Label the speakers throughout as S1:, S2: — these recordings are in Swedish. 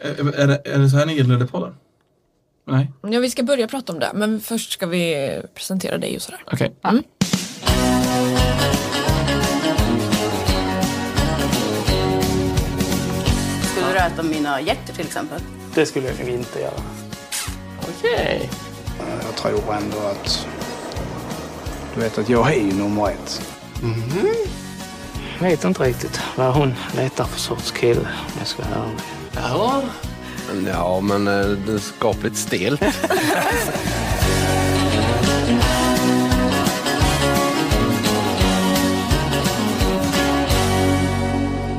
S1: Är, är, det, är det så här ni inleder podden? Nej,
S2: Ja, vi ska börja prata om det, men först ska vi presentera dig Mm. och sådär.
S1: okej.
S3: Skulle du äta mina hjärtor till exempel?
S4: Det skulle jag kanske inte göra.
S5: Okej.
S6: Jag tror ändå att... Du vet att jag är ju nummer ett.
S4: Jag vet inte riktigt vad hon letar för sorts kille om jag ska vara ärlig.
S5: Ja. Ja, men eh, det är skapligt stelt.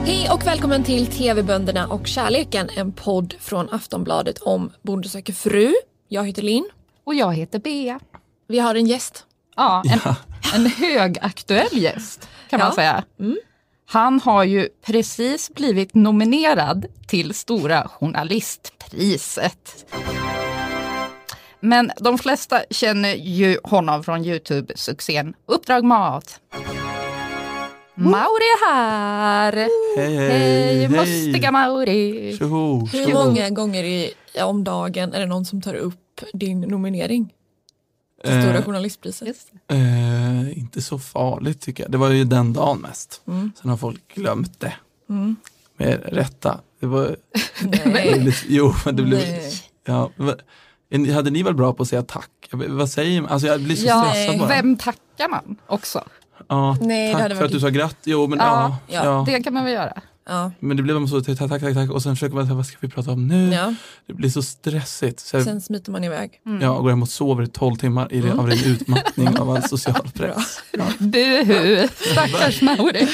S2: Hej och välkommen till TV-bönderna och kärleken, en podd från Aftonbladet om Bonde söker fru. Jag heter Linn.
S7: Och jag heter Bea.
S2: Vi har en gäst.
S7: Ja, en, en högaktuell gäst kan
S2: Ja.
S7: man säga. Han har ju precis blivit nominerad till Stora Journalistpriset. Men de flesta känner ju honom från Youtube-succén Uppdrag Mat. Mauri är här!
S1: Hej,
S7: Hej, mustiga Mauri!
S1: Tjoho!
S2: Hur många gånger i, om dagen är det någon som tar upp din nominering till Stora
S1: Eh,
S2: Journalistpriset?
S7: Just det.
S1: Eh, inte så farligt tycker jag. Det var ju den dagen mest.
S2: Mm.
S1: Sen har folk glömt det. Med rätta. Det var, det blev
S2: Nej.
S1: lite, jo, men det blev...
S2: Nej.
S1: Ja, va- en- hade ni väl bra på att säga tack? Jag vet- Vad säger man? Alltså jag blir så
S7: Ja,
S1: stressad bara.
S7: vem tackar man också?
S1: Ja,
S2: eh, Nej, det
S1: tack
S2: hade
S1: för
S2: varit-
S1: att du sa grattis. Jo, men ja.
S7: Ja,
S1: ja,
S2: ja,
S7: Det kan man väl göra?
S2: Ja.
S1: Men det blir man så, tack, tack, tack, tack. Och sen försöker man, säga, vad ska vi prata om nu?
S2: ja,
S1: Det blir så stressigt. Så jag,
S2: sen smiter man iväg.
S1: jag går hem och sover i tolv timmar i, mm. av ren utmattning av all social press.
S7: Buhu, stackars Mauri.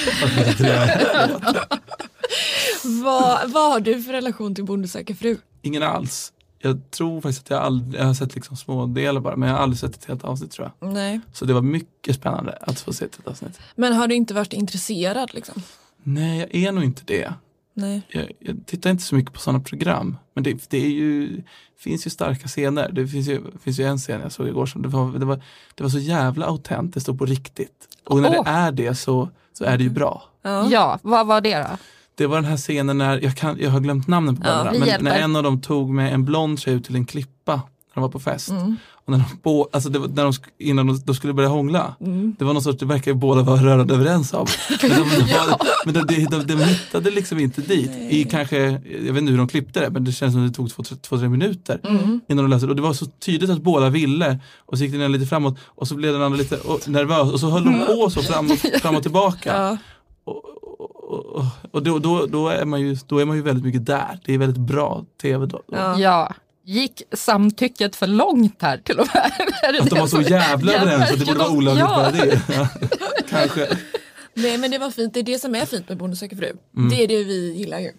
S2: Vad, vad har du för relation till Bonde söker fru?
S1: Ingen alls. Jag tror faktiskt att jag aldrig, jag har sett liksom små delar bara, men jag har aldrig sett ett helt avsnitt tror jag.
S2: Nej.
S1: Så det var mycket spännande att få se ett helt avsnitt.
S2: Men har du inte varit intresserad liksom?
S1: Nej, jag är nog inte det.
S2: Nej.
S1: Jag, jag tittar inte så mycket på sådana program, men det, det är ju, finns ju starka scener. Det finns ju, finns ju en scen jag såg igår som det var, det var, det var så jävla autentiskt och på riktigt. Och när det
S7: Åh.
S1: är det så, så är det ju bra.
S7: Ja, vad var det då?
S1: Det var den här scenen när, jag, kan, jag har glömt namnen på
S2: Ja,
S1: bönderna,
S7: vi
S1: men
S7: hjälper.
S1: när en av dem tog med en blond tjej ut till en klippa när de var på fest.
S7: Mm.
S1: Och när de, bå- alltså det var, när de, sk- innan de, de skulle börja hångla.
S7: Mm.
S1: Det var någon sorts, det verkar ju båda vara rörande överens om. Men de, de, var- men de, de, de, de hittade liksom inte dit. I kanske, jag vet inte hur de klippte det, men det känns som det tog två, tre- två tre minuter
S7: Mm.
S1: innan de löste det. Och det var så tydligt att båda ville. Och så gick den ena lite framåt och så blev den andra lite och, nervös. Och så höll
S7: Mm.
S1: de på så fram och, fram och tillbaka. Och, och, och, och då, då, då, är man ju, då är man ju väldigt mycket där. Det är väldigt bra tv då.
S2: Ja.
S7: Ja, gick samtycket för långt här till och med? Är det
S1: Att Alltså, de
S7: det
S1: var så
S7: som-
S1: jävla överens att det borde vara olagligt
S7: Ja.
S1: bara det. Ja. Kanske.
S2: Nej men det var fint, det är det som är fint med Bonde söker fru. Det är det vi gillar ju.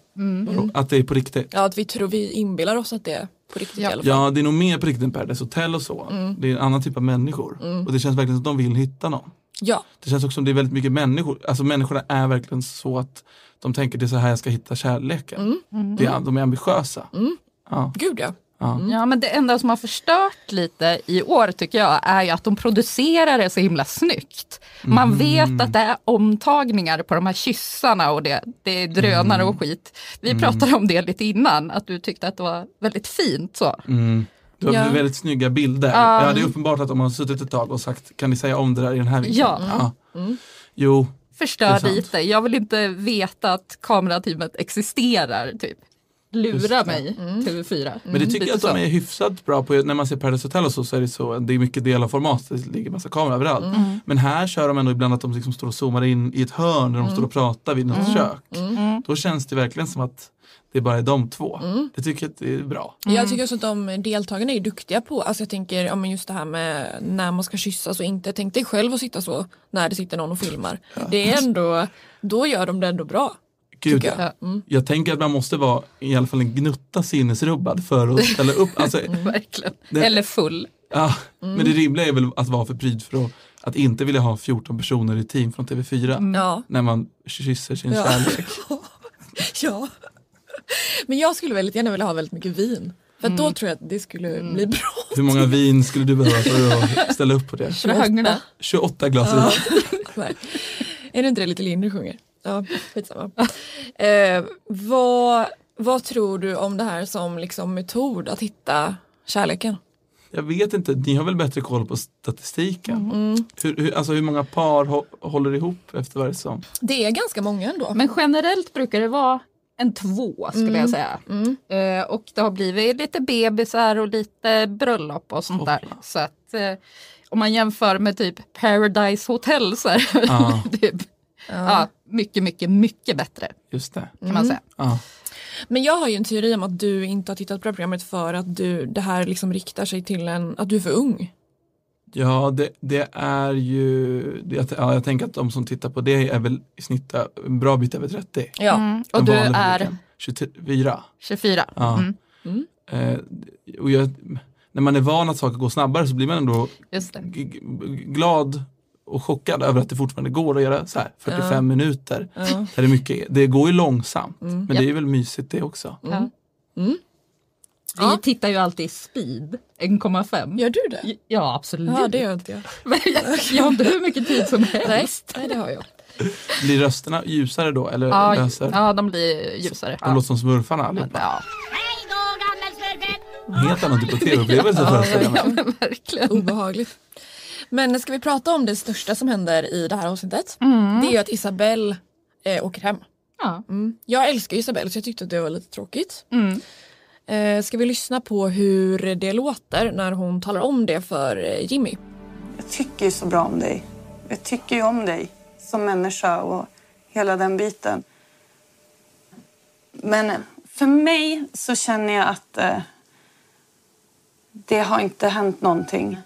S1: Att det är på riktigt.
S2: Ja, att vi tror, vi inbillar oss att det är på riktigt
S7: Ja.
S2: i alla fall.
S1: Ja, det är nog mer på riktigt än Paradise Hotel och så. Det är en annan typ av människor. Och det känns verkligen som att de vill hitta någon.
S2: Ja,
S1: Det känns också som det är väldigt mycket människor. Alltså människorna är verkligen så att de tänker det är så här jag ska hitta kärleken. Det är, de är ambitiösa. Ja.
S2: gud ja.
S7: Ja, men det enda som har förstört lite i år tycker jag är ju att de producerar det så himla snyggt. Man
S1: Mm.
S7: vet att det är omtagningar på de här kyssarna och det, det är
S1: Mm.
S7: drönare och skit. Vi pratade om det lite innan, att du tyckte att det var väldigt fint så.
S1: Mm. Det var
S2: Ja.
S1: väldigt snygga bilder. Ja, det är uppenbart att de har suttit ett tag och sagt kan ni säga om det där i den här vinkeln?
S7: Ja.
S1: Jo, Det är
S7: Förstör
S1: sant.
S7: lite, jag vill inte veta att kamerateamet existerar typ.
S1: Just
S7: Lura
S1: det.
S7: mig TV4.
S1: men det tycker jag att
S7: Mm, Lite
S1: de
S7: så.
S1: är hyfsat bra på. När man ser Paradise Hotel och så, så är det så, det är mycket del av format, det ligger massa kameror överallt. Men här kör de ändå ibland att de liksom står och zoomar in i ett hörn där de står och pratar vid något kök. Då känns det verkligen som att det bara är de två. Det tycker jag att det är bra.
S2: Jag tycker också att de deltagarna är duktiga på, alltså jag tänker ja, men just det här med när man ska kyssas och inte. Tänk dig själv att sitta så när det sitter någon och filmar. Det är ändå, då gör de det ändå bra.
S1: Gud,
S2: tycker
S1: jag. jag tänker att man måste vara i alla fall en gnutta sinnesrubbad för att ställa upp. Alltså,
S7: Verkligen.
S1: Det-
S7: Eller full.
S1: Ja, men
S7: Mm.
S1: det rimliga är väl att vara för pryd för att, att inte vilja ha 14 personer i team från TV4
S7: Mm.
S2: Ja.
S1: när man kysser sin
S2: Ja.
S1: kärlek.
S2: ja. Men jag skulle väldigt gärna vilja ha väldigt mycket vin. För att då tror jag att det skulle bli bra.
S1: Hur många vin skulle du behöva för att ställa upp på det?
S7: Ragna.
S1: 28 glas vin.
S2: Nej. Är det inte det lite Lindy sjunger? Ja, skitsamma. Eh, vad, Vad tror du om det här som liksom metod att hitta kärleken?
S1: Jag vet inte, ni har väl bättre koll på statistiken?
S7: Mm.
S1: Hur, hur, alltså hur många par hå- håller ihop efter varje säsong?
S2: Det är ganska många ändå.
S7: Men generellt brukar det vara en två skulle jag säga. Eh, och det har blivit lite bebisar och lite bröllop och sånt där. Så att eh, om man jämför med typ Paradise Hotel så är det
S1: Ja.
S7: typ, ja, Mm. mycket, mycket, mycket bättre kan
S1: Just det.
S7: man säga.
S1: Ja.
S2: Men jag har ju en teori om att du inte har tittat på det här programmet för att du, det här liksom riktar sig till en, att du är för ung.
S1: Ja, det, det är ju, det, ja, jag tänker att de som tittar på det är väl i snitt ö- en bra bit över 30.
S2: Ja.
S7: Mm.
S1: Den
S7: Och du
S1: vanliga
S7: är
S1: publiken. 24.
S7: 24.
S1: Ja.
S7: Mm,
S1: Eh, och jag, när man är van att saker går snabbare så blir man ändå
S7: just det.
S1: g- g- glad och chockad över att det fortfarande går att göra så här 45 minuter. Där det, är mycket, det går ju långsamt,
S7: Mm.
S1: men det är väl mysigt det också.
S7: Ja. Vi
S2: Ja.
S7: tittar ju alltid i speed 1,5.
S2: Gör du det?
S7: Ja, absolut.
S2: Ja det gör inte jag.
S7: Men jag, jag har inte hur mycket tid som helst.
S2: Nej, nej det har jag.
S1: Blir rösterna ljusare då? Eller
S7: Ja,
S1: lösare?
S7: ja, de blir ljusare.
S1: De låter som smurfarna allihopa.
S7: ja.
S1: En helt annan typ av tv-upplevelse föreställer jag mig.
S7: ja, men verkligen.
S2: Obehagligt. Men ska vi prata om det största som händer i det här avsnittet? Det är ju att Isabelle eh, åker hem.
S7: Ja.
S2: Mm. Jag älskar Isabelle så jag tyckte att det var lite tråkigt. Eh, ska vi lyssna på hur det låter när hon talar om det för eh, Jimmy?
S8: Jag tycker ju så bra om dig. Jag tycker ju om dig som människa och hela den biten. Men för mig så känner jag att eh, det har inte hänt någonting.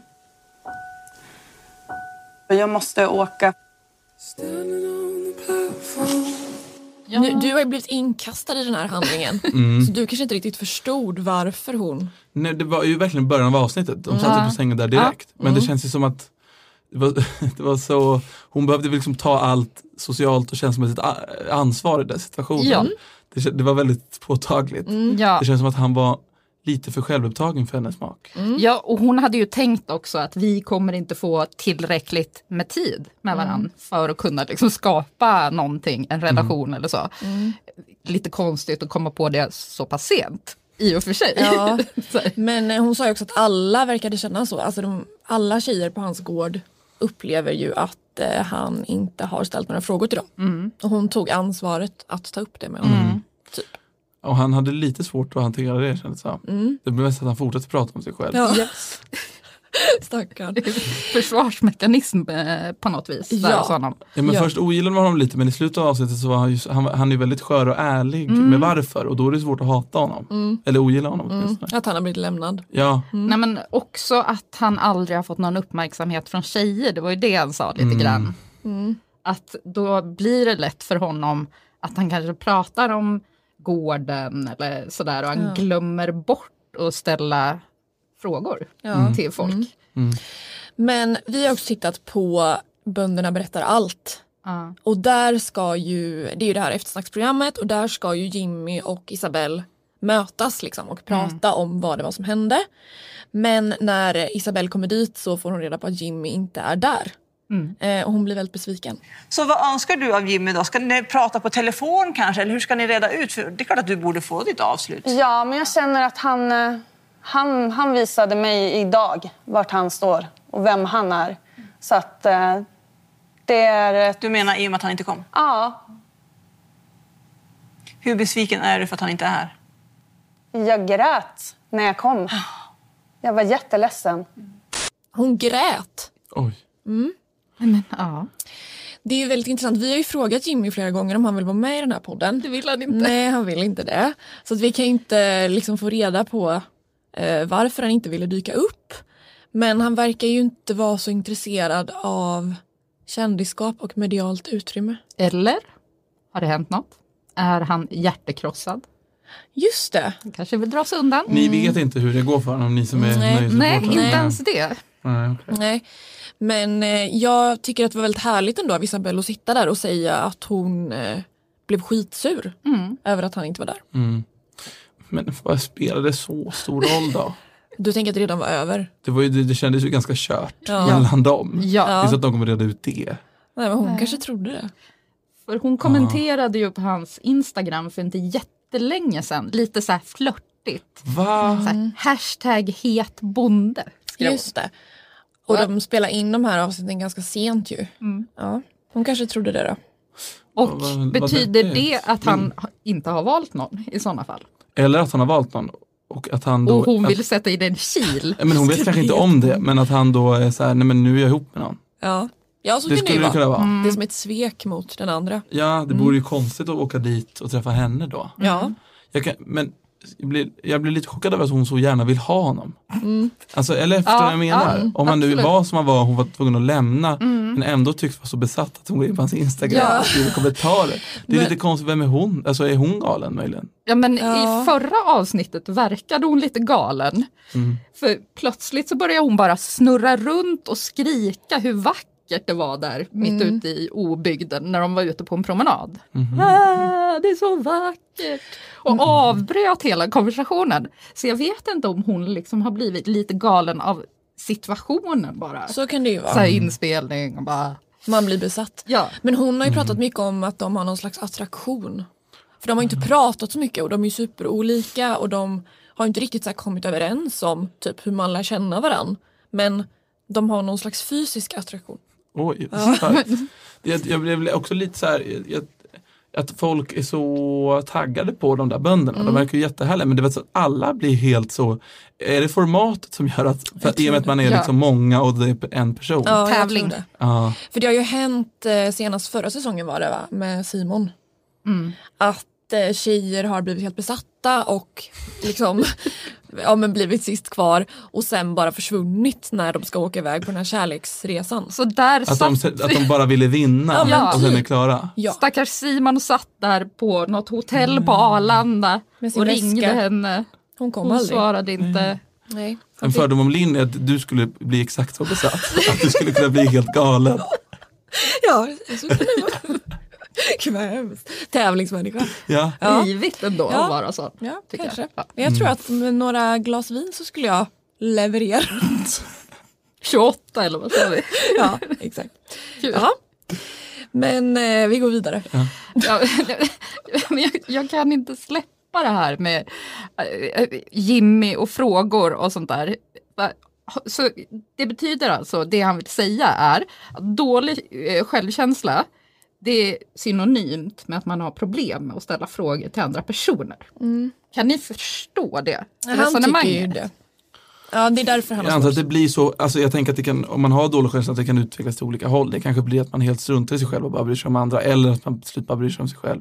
S8: Jag måste åka.
S2: Nu, du har ju blivit inkastad i den här handlingen så du kanske inte riktigt förstod varför hon...
S1: Nej, det var ju verkligen början av avsnittet. De satt ju på sängen där direkt. Men det känns ju som att det var, det var så, hon behövde väl liksom ta allt socialt och känslomässigt a- ansvar i den situationen.
S7: Ja. Mm.
S1: Det, kän- det var väldigt påtagligt.
S7: Ja.
S1: Det känns som att han var lite för självupptagen för hennes smak.
S7: Mm. ja, och hon hade ju tänkt också att vi kommer inte få tillräckligt med tid med varandra
S2: Mm.
S7: för att kunna liksom skapa någonting,
S1: Mm.
S7: en relation eller så.
S2: Mm.
S7: Lite konstigt att komma på det så pass sent, i och för sig.
S2: Ja.
S7: så, här.
S2: Men eh, hon sa ju också att alla verkade känna så. Alltså de, alla tjejer på hans gård upplever ju att eh, han inte har ställt några frågor till dem. Och hon tog ansvaret att ta upp det med honom.
S1: Och han hade lite svårt att hantera det kändes det mm. Det blev mest att han fortsatte prata om sig själv.
S2: Ja. Stackarn.
S7: Försvarsmekanism eh, på något vis. Där
S2: Ja.
S7: hos honom.
S1: Ja, men
S2: Ja.
S1: Först ogillade man honom lite men i slutet av avsnittet så var han ju, han, var- han är ju väldigt skör och ärlig med varför och då är det svårt att hata honom. Eller ogilla honom åtminstone.
S2: Att han har blivit lämnad.
S1: Ja,
S2: Mm.
S7: Nej, men också att han aldrig har fått någon uppmärksamhet från tjejer, det var ju det han sa lite
S2: Mm.
S7: grann. Att då blir det lätt för honom att han kanske pratar om gården eller sådär och han glömmer bort att ställa frågor Mm. till folk.
S2: Mm. Men vi har också tittat på Bönderna berättar allt.
S7: Ja.
S2: Och där ska ju, det är ju det här eftersnacksprogrammet och där ska ju Jimmy och Isabelle mötas liksom och prata om vad det var som hände. Men när Isabelle kommer dit så får hon reda på att Jimmy inte är där. Eh, och hon blir väldigt besviken.
S9: Så vad önskar du av Jimmy då? Ska ni prata på telefon kanske? Eller hur ska ni reda ut? För det är klart att du borde få ditt avslut.
S8: Ja, men jag känner att han, eh, han, han visade mig idag vart han står och vem han är. Så att eh, det är ett...
S9: Du menar i och med att han inte kom?
S8: Ja,
S9: Hur besviken är du för att han inte är här?
S8: jag grät när jag kom. Jag var jätteledsen.
S2: Hon grät.
S1: oj.
S7: Nej, Men, ja.
S2: Det är ju väldigt intressant. Vi har ju frågat Jimmy flera gånger om han vill vara med i den här podden. Det vill han inte. Nej, han vill inte det. Så att vi kan ju inte liksom få reda på eh, varför han inte ville dyka upp. Men han verkar ju inte vara så intresserad av kändisskap och medialt utrymme.
S7: Eller har det hänt något? Är han hjärtekrossad?
S2: Just det.
S7: Han kanske vill dra sig undan?
S1: Ni vet inte hur det går för honom, ni som är
S2: Mm. Nej.
S7: Nej,
S1: nöjesreportrar.
S7: inte ens det.
S1: Nej, okej.
S2: Nej. Men eh, jag tycker att det var väldigt härligt ändå av Isabelle att sitta där och säga att hon eh, blev skitsur över att han inte var där.
S1: Men vad spelar det så stor roll då?
S2: Du tänker att det redan var över?
S1: Det, var ju, det, det kändes ju ganska kört
S2: Ja.
S1: mellan dem.
S7: Ja.
S1: Det är så att de kommer reda ut det.
S2: Nej, men hon kanske trodde det.
S7: För hon kommenterade ju på hans Instagram för inte jättelänge sedan, lite så här flörtigt.
S1: Va?
S7: Så här, hashtag het bonde. skrev hon.
S2: Just det. Och de spelar in de här avsnitten ganska sent ju. Ja. Hon kanske trodde det då.
S7: Och
S1: vad- Mm. vad
S7: betyder
S1: vettigt.
S7: det att han ha- inte har valt någon i sådana fall?
S1: Eller att han har valt någon. Och att han då...
S7: Och hon
S1: att,
S7: vill sätta i den kil.
S1: Ja, men hon vet kanske inte om det, men att han då är så här, nej men nu är jag ihop med någon.
S2: Ja, ja så
S1: Det
S2: kan det ju
S1: skulle det
S2: vara. Mm.
S1: kunna vara.
S2: Det är som ett svek mot den andra.
S1: Ja, det vore ju konstigt att åka dit och träffa henne då.
S2: Ja.
S1: Jag kan, men jag blir, jag blir lite chockad över att hon så gärna vill ha honom. Alltså, eller förstår
S7: Ja,
S1: du vad jag menar?
S7: ja,
S1: Om han nu
S7: absolut. Mm.
S1: var som han var, hon var tvungen att lämna, men ändå tycks vara så besatt att hon går in på hans Instagram
S7: Ja.
S1: och skriver kommentarer. Det är
S2: Men-
S1: lite konstigt, vem är hon? Alltså är hon galen möjligen?
S7: Ja, men
S2: Ja.
S7: i förra avsnittet verkade hon lite galen.
S1: Mm.
S7: För plötsligt så började hon bara snurra runt och skrika hur vackert det var där mitt ute i obygden när de var ute på en promenad.
S1: Mhm.
S7: Ah, det är så vackert! Och avbröt hela konversationen. Så jag vet inte om hon liksom har blivit lite galen av situationen bara. Så,
S2: Så kan det ju
S7: här
S2: vara.
S7: inspelning och bara...
S2: Man blir besatt.
S7: Ja.
S2: Men hon har ju
S1: Mm.
S2: pratat mycket om att de har någon slags attraktion. För de har ju inte pratat så mycket och de är ju superolika och de har ju inte riktigt så här kommit överens om typ hur man lär känna varann. Men de har någon slags fysisk attraktion.
S1: Oj, starkt. jag, jag blev också lite så här, jag, att folk är så taggade på de där bönderna.
S7: Mm.
S1: De verkar ju jättehärliga men det är väl så att alla blir helt så, är det formatet som gör att, för i och med att man är
S7: Ja.
S1: liksom många och det är en person.
S2: Ja, jag tror
S7: Tävling.
S2: det.
S1: Ja.
S2: För det har ju hänt eh, senast förra säsongen var det va, med Simon. Att eh, tjejer har blivit helt besatta och liksom ja, men blivit sist kvar och sen bara försvunnit när de ska åka iväg på den här kärleksresan.
S7: Så där
S1: Att, de,
S7: satt...
S1: att de bara ville vinna
S2: Ja, men
S1: och sen är
S2: typ.
S1: klara.
S2: Ja.
S7: Stackars Simon satt där på något hotell på Arlanda
S2: Med sin
S7: och
S2: väska.
S7: ringde henne.
S2: Hon kom
S7: Hon
S2: aldrig.
S7: svarade inte.
S2: Nej.
S1: En fördom om Linn är att du skulle bli exakt så besatt. Att du skulle kunna bli helt galen.
S2: Ja, så kan det vara. Gud vad hemskt. Tävlingsmänniska.
S1: Ja.
S2: Ja.
S7: Givet ändå
S2: Ja.
S7: att vara sån.
S2: Ja,
S7: tycker jag.
S2: kanske. Jag,
S7: Ja.
S1: Mm.
S2: tror att med några glas vin så skulle jag leverera.
S7: 28 eller vad sa vi?
S2: ja, exakt.
S7: Kul.
S2: Ja. Men eh, vi går vidare.
S7: Ja, men jag, jag kan inte släppa det här med eh, Jimmy och frågor och sånt där. Va- Så det betyder alltså, det han vill säga är att dålig eh, självkänsla det är synonymt med att man har problem med att ställa frågor till andra personer. Kan ni förstå det?
S2: Mm. Han tycker ju
S7: resonemanget?
S2: det. Ja, det är därför han
S1: Jag
S2: har
S1: antar att
S2: svårt.
S1: det blir så, alltså jag tänker att det kan, om man har dålig självkänsla, att det kan utvecklas till olika håll. Det kanske blir att man helt struntar i sig själv och bara bryr sig om andra eller att man till slut bara bryr sig om sig själv.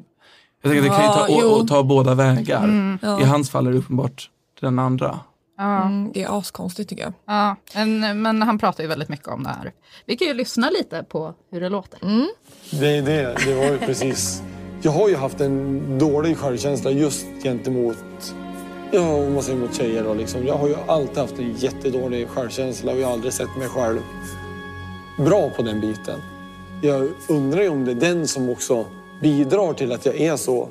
S1: Jag tänker att det kan ju
S2: Ja,
S1: ta, och,
S2: jo. Mm,
S1: och ta båda vägar.
S2: ja.
S1: I hans fall är det uppenbart den andra.
S7: Ja,
S2: Mm, det är askonstigt tycker jag.
S7: ja. Men, men han pratar ju väldigt mycket om det här. Vi kan ju lyssna lite på hur det låter.
S10: Mm.
S11: Det är det, det var ju precis. Jag har ju haft en dålig självkänsla just gentemot, ja om man säger mot tjejer då liksom. Jag har ju alltid haft en jättedålig självkänsla och jag har aldrig sett mig själv bra på den biten. Jag undrar ju om det är den som också bidrar till att jag är så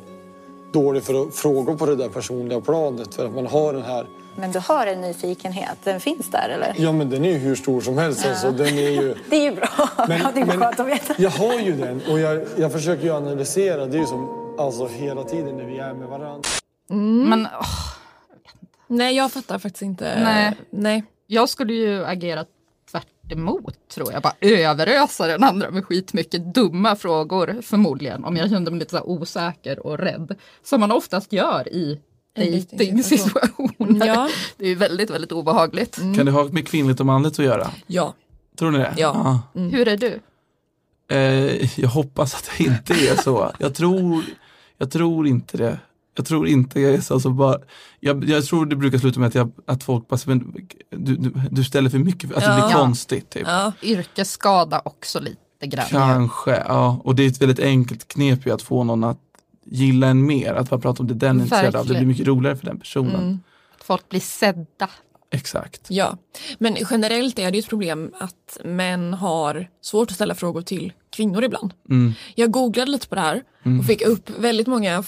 S11: dålig för att fråga på det där personliga planet för att man har den här
S10: Men du har en nyfikenhet, den finns där eller?
S11: Ja men den är ju hur stor som helst alltså. Den är ju...
S10: Det är ju bra. ja, det är skönt att veta.
S11: jag har ju den och jag, jag försöker ju analysera. Det är ju som alltså, hela tiden när vi är med varandra.
S7: Men åh,
S2: Nej, jag fattar faktiskt inte.
S7: Nej.
S2: Nej.
S7: Jag skulle ju agera tvärt emot tror jag. Bara överösa den andra med skitmycket dumma frågor förmodligen. Om jag kände mig lite så här osäker och rädd. Som man oftast gör i
S2: En
S7: dejtingsituationer.
S2: Ja. Mm.
S7: Det är ju väldigt, väldigt obehagligt.
S1: Kan det ha med kvinnligt och manligt att göra?
S2: Ja.
S1: Tror ni det?
S2: Ja.
S7: Mm. Hur är du?
S1: Eh, jag hoppas att det inte är så. Jag tror, jag tror inte det. Jag tror inte jag är så. Alltså bara, jag, jag tror det brukar sluta med att, jag, att folk bara, säger, men, du, du, du ställer för mycket, att det blir
S7: Ja.
S1: konstigt. Typ.
S2: Ja.
S7: Yrkesskada också lite grann.
S1: Kanske, ja. Och det är ett väldigt enkelt knep ju att få någon att gilla en mer. Att bara prata om det den är intresserad av. Det
S7: Verkligen. Mm.
S1: blir mycket roligare för den personen.
S7: Att folk blir sedda.
S1: Exakt.
S2: ja. Men generellt är det ju ett problem att män har svårt att ställa frågor till kvinnor ibland.
S1: Mm.
S2: Jag googlade lite på det här och fick upp väldigt många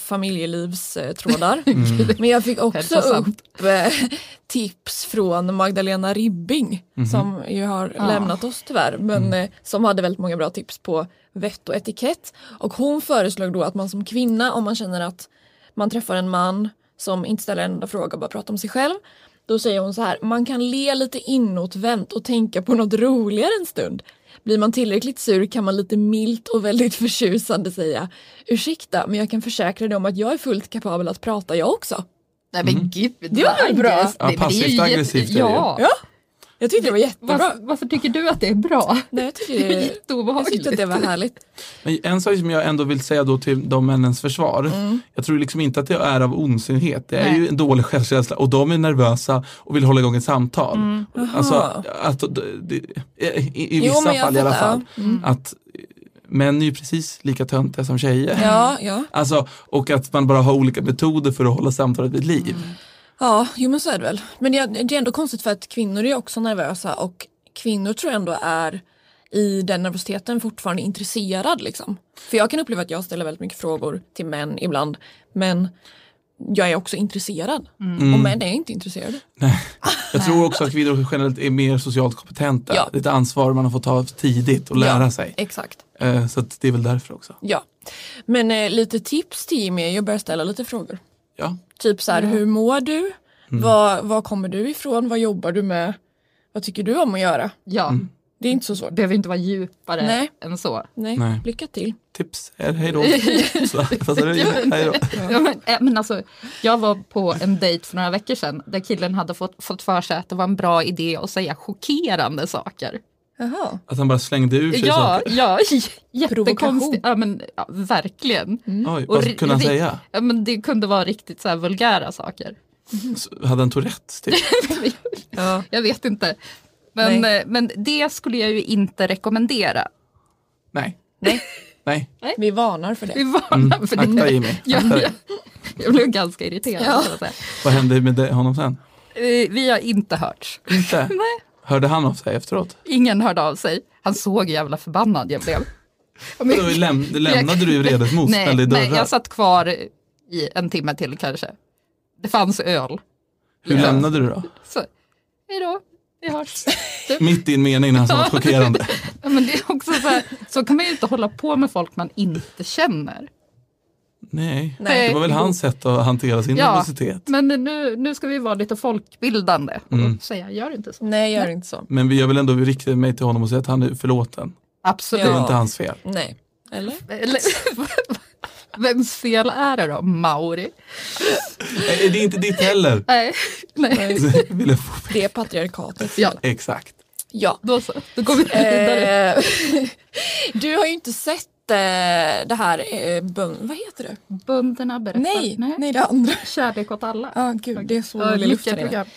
S2: familjelivstrådar. Men jag fick också
S7: Hälsosamt.
S2: upp eh, tips från Magdalena Ribbing som ju har lämnat oss tyvärr men eh, som hade väldigt många bra tips på vett och etikett. Och hon föreslog då att man som kvinna om man känner att man träffar en man som inte ställer en enda fråga, bara pratar om sig själv. Då säger hon så här, man kan le lite inåtvänt och tänka på något roligare en stund. Blir man tillräckligt sur kan man lite milt och väldigt förtjusande säga Ursäkta, men jag kan försäkra dig om att jag är fullt kapabel att prata jag också.
S7: Nej men gud,
S2: Det var väl bra?
S1: Mm. Ja, passivt
S7: aggressivt. Nej, men det är ju
S1: aggressivt är det ju.
S7: Ja.
S2: Ja, jag tyckte det var jättebra.
S7: Varför, varför tycker du att det är bra?
S2: Nej, jag tyckte
S7: Det är
S2: det, jag
S7: jätteobehagligt.
S2: tyckte att det var härligt.
S1: Men en sak som jag ändå vill säga då till de männens försvar.
S2: Mm.
S1: Jag tror liksom inte att det är av ondsinhet. Det är
S7: Nej.
S1: ju en dålig självkänsla och de är nervösa och vill hålla igång ett samtal. Alltså, att, det, i, i
S2: Mm. Jo,
S1: vissa
S2: men jag
S1: fall i alla
S2: fattar, Mm.
S1: fall. Att män är ju precis lika töntiga som tjejer.
S2: Ja, ja.
S1: Alltså, och att man bara har olika metoder för att hålla samtalet vid liv.
S2: Mm. Ja, jo men så är det väl. Men det, det är ändå konstigt för att kvinnor är också nervösa och kvinnor tror jag ändå är i den nervositeten fortfarande intresserad liksom. För jag kan uppleva att jag ställer väldigt mycket frågor till män ibland men jag är också intresserad
S1: Mm.
S2: och män är inte intresserade.
S1: Jag tror också att kvinnor generellt är mer socialt kompetenta.
S2: Ja.
S1: Det är ett ansvar man har fått ta tidigt och lära
S2: ja,
S1: sig.
S2: Exakt.
S1: Eh, Så att det är väl därför också.
S2: Ja. Men eh, lite tips till Jimmy är ju att börja ställa lite frågor.
S1: Ja.
S2: Typ så här, hur mår du?
S1: Mm.
S2: Var, var kommer du ifrån? Vad jobbar du med? Vad tycker du om att göra?
S7: Ja,
S1: Mm.
S2: Det är inte så svårt.
S7: behöver inte vara djupare
S2: Nej.
S7: än så.
S2: Nej,
S1: Nej.
S2: lycka till.
S1: Tips är hej då. Så, fast är Alltså, det- hej då.
S7: Ja, men, eh, men alltså, jag var på en dejt för några veckor sedan där killen hade fått, fått för sig att det var en bra idé att säga chockerande saker.
S2: Jaha.
S1: Att han bara slängde ur sig
S7: Ja,
S1: saker.
S7: ja j-
S2: Provokation. Mm.
S7: jättekonstigt. Ja, men, ja, verkligen.
S1: Oj, vad
S7: ri-
S1: kunde han
S7: Mm. ri-
S1: säga?
S7: Ja, men det kunde vara riktigt så här vulgära saker.
S1: Så- Hade han Tourettes? Typ?
S2: Ja.
S7: Jag vet inte. Men,
S2: Nej.
S7: eh, men det skulle jag ju inte rekommendera.
S1: Nej.
S2: Nej.
S1: Nej.
S2: Vi varnar för
S7: Vi
S2: det.
S7: varnar för det.
S1: Mm. Akta Jimmy.
S7: Jag,
S1: Akta dig.
S7: jag, jag blev ganska irriterad. så att säga.
S1: Vad hände med det- honom sen?
S7: Eh, Vi har inte hört.
S1: Inte?
S7: Nej.
S1: Hörde han av sig efteråt?
S7: Ingen hörde av sig. Han såg hur jävla förbannad jag blev. Men-
S1: Då läm lämnade du redet mot,
S7: nej,
S1: ställde i
S7: nej,
S1: dörrar.
S7: jag satt kvar i en timme till kanske. Det fanns öl.
S1: Hur lämnade du då?
S7: Så, hej då, vi hörs.
S1: Mitt i en mening när han sa något chockerande.
S7: Ja, Men det är också så, här, så kan man ju inte hålla på med folk man inte känner.
S1: Nej.
S2: Nej.
S1: Det var väl hans sätt att hantera sin
S7: Ja.
S1: nervositet.
S7: Men nu, nu ska vi vara lite folkbildande och
S1: Mm.
S7: säga, gör inte så.
S2: Nej, gör inte så.
S1: Men vi- jag vill ändå rikta mig till honom och säga att han är förlåten.
S7: Absolut.
S1: Det var
S2: Ja.
S1: inte hans fel.
S2: Nej. Eller?
S7: Eller, vems fel är det då? Mauri?
S1: Nej, Det är inte ditt heller.
S7: Nej, nej.
S1: Så vill jag få-
S2: Det är patriarkatet.
S7: Ja,
S1: Exakt.
S2: Ja.
S7: då så. Då går vi vidare.
S2: Eh, du har ju inte sett eh, det här, eh, bön, vad heter det?
S7: Bönderna berättar.
S2: Nej, nej det andra.
S7: Kärlek åt alla.
S2: Ja, gud, det är så
S7: Ja,
S2: dålig luft här
S7: lyckat
S2: inne.
S7: program.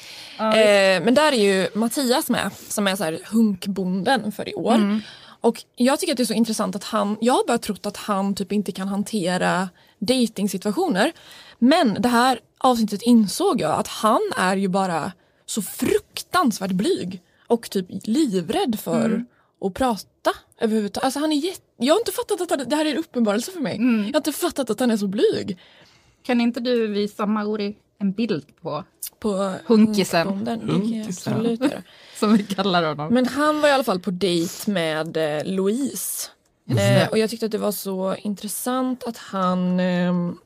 S2: Eh, men där är ju Mattias med som är så här hunkbonden för i år. Och jag tycker att det är så intressant att han, jag har bara trott att han typ inte kan hantera dejtingsituationer. Men det här avsnittet insåg jag att han är ju bara så fruktansvärt blyg och typ livrädd för att prata överhuvudtaget. Alltså han är jätte, jag har inte fattat att han, det här är en uppenbarelse för mig. Jag har inte fattat att han är så blyg
S7: Kan inte du visa Mauri en bild på,
S2: på
S7: Hunkisen.
S2: hunkbonden. Det kan jag
S1: Hunkisen.
S2: absolut göra.
S7: som vi kallar honom?
S2: Men han var i alla fall på dejt med eh, Louise. Eh, och jag tyckte att det var så intressant att han... ehm,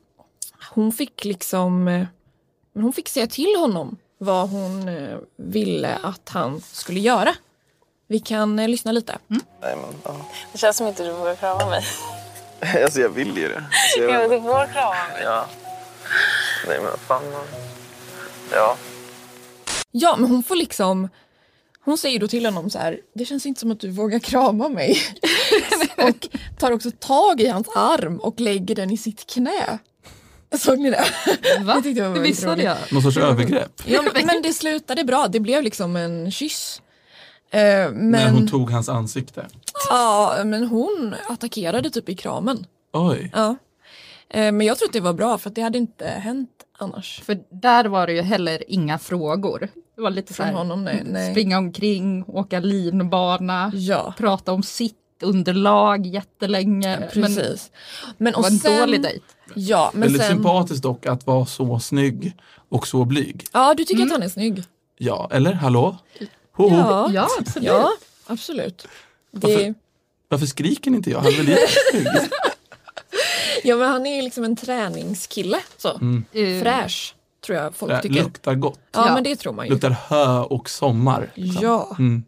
S2: hon fick liksom... Eh, men hon fick säga till honom vad hon eh, ville att han skulle göra. Vi kan eh, lyssna lite.
S10: Det känns som inte du vågar krama mig.
S6: Alltså jag vill ju det. Så jag-
S10: du får krama mig.
S6: Ja. Nej men fan. Ja.
S2: Ja, men hon får liksom... Hon säger då till honom så här, det känns inte som att du vågar krama mig. och tar också tag i hans arm och lägger den i sitt knä. Såg ni det?
S7: Va?
S2: tyckte jag var
S7: Det
S2: väldigt
S7: missade
S2: roligt.
S7: jag.
S1: Någon sorts övergrepp.
S2: Ja, men- men det slutade bra. Det blev liksom en kyss. Eh,
S1: När
S2: men,
S1: hon tog hans ansikte.
S2: ja, men hon attackerade typ i kramen.
S1: Oj.
S2: Ja. Eh, men jag tror att det var bra för att det hade inte hänt annars.
S7: För där var det ju heller inga frågor. Det var lite så
S2: Från
S7: här,
S2: honom, nej, nej.
S7: springa omkring, åka linbana,
S2: Ja,
S7: prata om sitt underlag jättelänge. Men
S2: precis. Men,
S7: det var en dålig dejt.
S2: Ja, men
S1: Väldigt
S2: sen,
S1: sympatiskt dock att vara så snygg och så blyg.
S2: ja, du tycker att han är snygg.
S1: Ja, eller hallå? Ho, ho.
S2: Ja,
S7: Mm. Ja, absolut.
S2: ja, absolut. Det,
S1: Varför skriker inte jag? Han är väl jättesnygg?
S2: Ja men han är ju liksom en träningskille. Så. Eh,
S1: Mm.
S2: Fräsch tror jag folk
S1: Äh,
S2: tycker.
S1: Luktar gott.
S2: Ja, men det tror man ju.
S1: Luktar hö och sommar. liksom.
S2: Ja.
S1: Mm.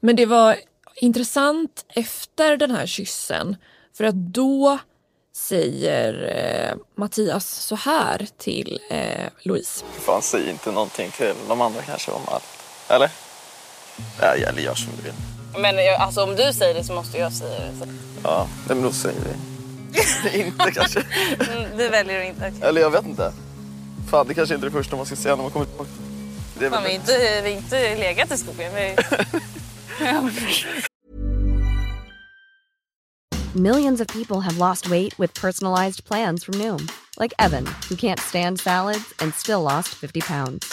S2: Men det var intressant efter den här kyssen för att då säger eh, Mattias så här till eh, Louise.
S12: Fan, säg inte någonting till de andra kanske om allt. Eller? Ja, eller gör som du vill.
S10: Men jag, alltså, om du säger det så måste jag säga det. Så.
S12: Ja, nej, men då säger vi. inte kanske.
S10: Mm, Du väljer att inte. okej.
S12: Eller jag vet inte. Fan, det kanske inte är det första man ska säga när man kommer tillbaka. Det är
S10: Fan, vi har
S12: väl
S10: inte, vi har inte legat i skogen. Vi...
S13: Millions of people have lost weight with personalized plans from Noom, like Evan, who can't stand salads and still lost 50 pounds.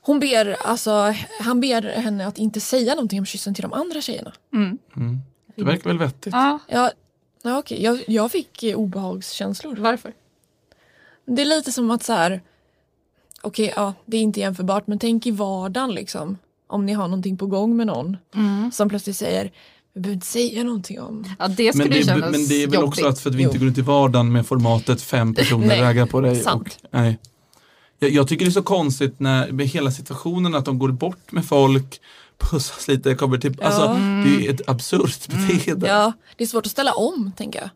S2: Hon ber, alltså, han ber henne att inte säga någonting om kyssen till de andra tjejerna.
S1: Mm. Det verkar väl vettigt.
S2: Ja. Ja, ja, okej. Jag, jag fick eh, obehagskänslor. Varför? Det är lite som att så här, okej, ja, det är inte jämförbart, men tänk i vardagen liksom. Om ni har någonting på gång med någon
S1: Mm.
S2: som plötsligt säger, vi behöver inte säga någonting om.
S7: Ja, det
S1: Men det, är- men det är väl också att för att vi inte går ut i vardagen med formatet fem personer
S2: Nej,
S1: raggar på dig. Och,
S2: sant.
S1: nej. Jag, jag tycker det är så konstigt när, med hela situationen att de går bort med folk, pussas lite, kommer till,
S2: Ja.
S1: alltså
S2: Mm.
S1: det är ju ett absurt beteende.
S2: Ja, det är svårt att ställa om, tänker jag.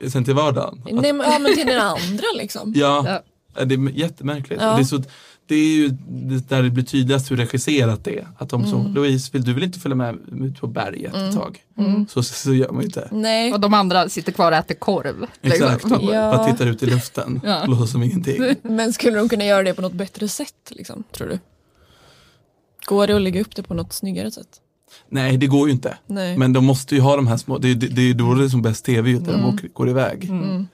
S2: Ja,
S1: Sen till vardagen. Att-
S2: Nej, men, ja men till den andra liksom.
S1: Ja, det är jättemärkligt.
S2: Ja.
S1: Och Det, är så, det är ju det där det blir tydligast hur regisserat det är. Att de som,
S7: Mm.
S1: Louise, vill, du vill inte följa med ut på berget
S7: Mm.
S1: ett tag?
S7: Mm.
S1: Så, så, så gör man ju inte.
S2: Nej.
S7: Och de andra sitter kvar och äter korv.
S1: Exakt,
S7: liksom.
S1: och bara tittar ut i luften
S2: Ja.
S1: och låtsas som ingenting.
S2: Men skulle de kunna göra det på något bättre sätt, liksom, tror du? Går det att lägga upp det på något snyggare sätt?
S1: Nej, det går ju inte.
S2: Nej.
S1: Men de måste ju ha de här små, det, är- det, det är ju då det är som bäst tv ju, när
S2: Mm.
S1: de åker, går iväg.
S2: Mm.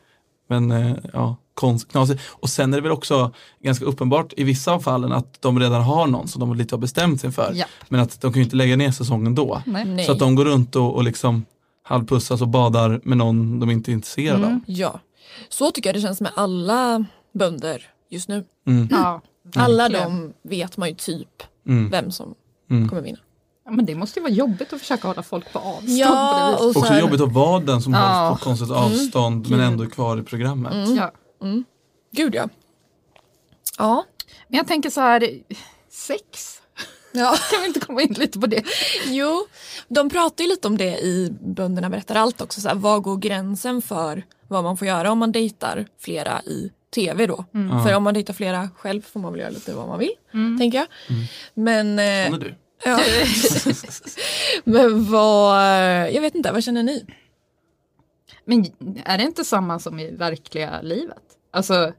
S1: Men eh, ja, konst, knasigt. Och sen är det väl också ganska uppenbart i vissa av fallen att de redan har någon som de lite har bestämt sig för.
S7: Ja.
S1: Men att de kan ju inte lägga ner säsongen då.
S7: Nej.
S1: Så att de går runt och, och liksom halvpussas och badar med någon de inte är intresserade
S7: Mm.
S1: av.
S2: Ja, så tycker jag det känns med alla bönder just nu.
S1: Mm.
S7: Ja,
S2: alla
S7: verkligen.
S2: de vet man ju typ
S1: Mm.
S2: vem som kommer vinna.
S7: Ja, men det måste ju vara jobbigt att försöka hålla folk på avstånd.
S2: Ja,
S7: på det viset.
S1: Också jobbigt att vara den som
S7: Ja.
S1: hålls på konstigt
S7: Mm.
S1: avstånd men
S7: Gud.
S1: ändå är kvar i programmet.
S7: Mm. Ja.
S2: Mm. Gud ja. Ja.
S7: Men jag tänker så här, sex.
S2: Ja.
S7: Kan vi inte komma in lite på det?
S2: Jo, de pratar ju lite om det i Bönderna berättar allt också. Så här, vad går gränsen för vad man får göra om man dejtar flera i tv då?
S1: Mm. Ja.
S2: För om man dejtar flera själv får man väl göra lite vad man vill,
S1: Mm.
S2: tänker jag.
S1: Mm.
S2: Men, eh,
S1: Sån är du.
S2: Ja. Men vad, jag vet inte, vad känner ni?
S7: Men är det inte samma som i verkliga livet? Alltså,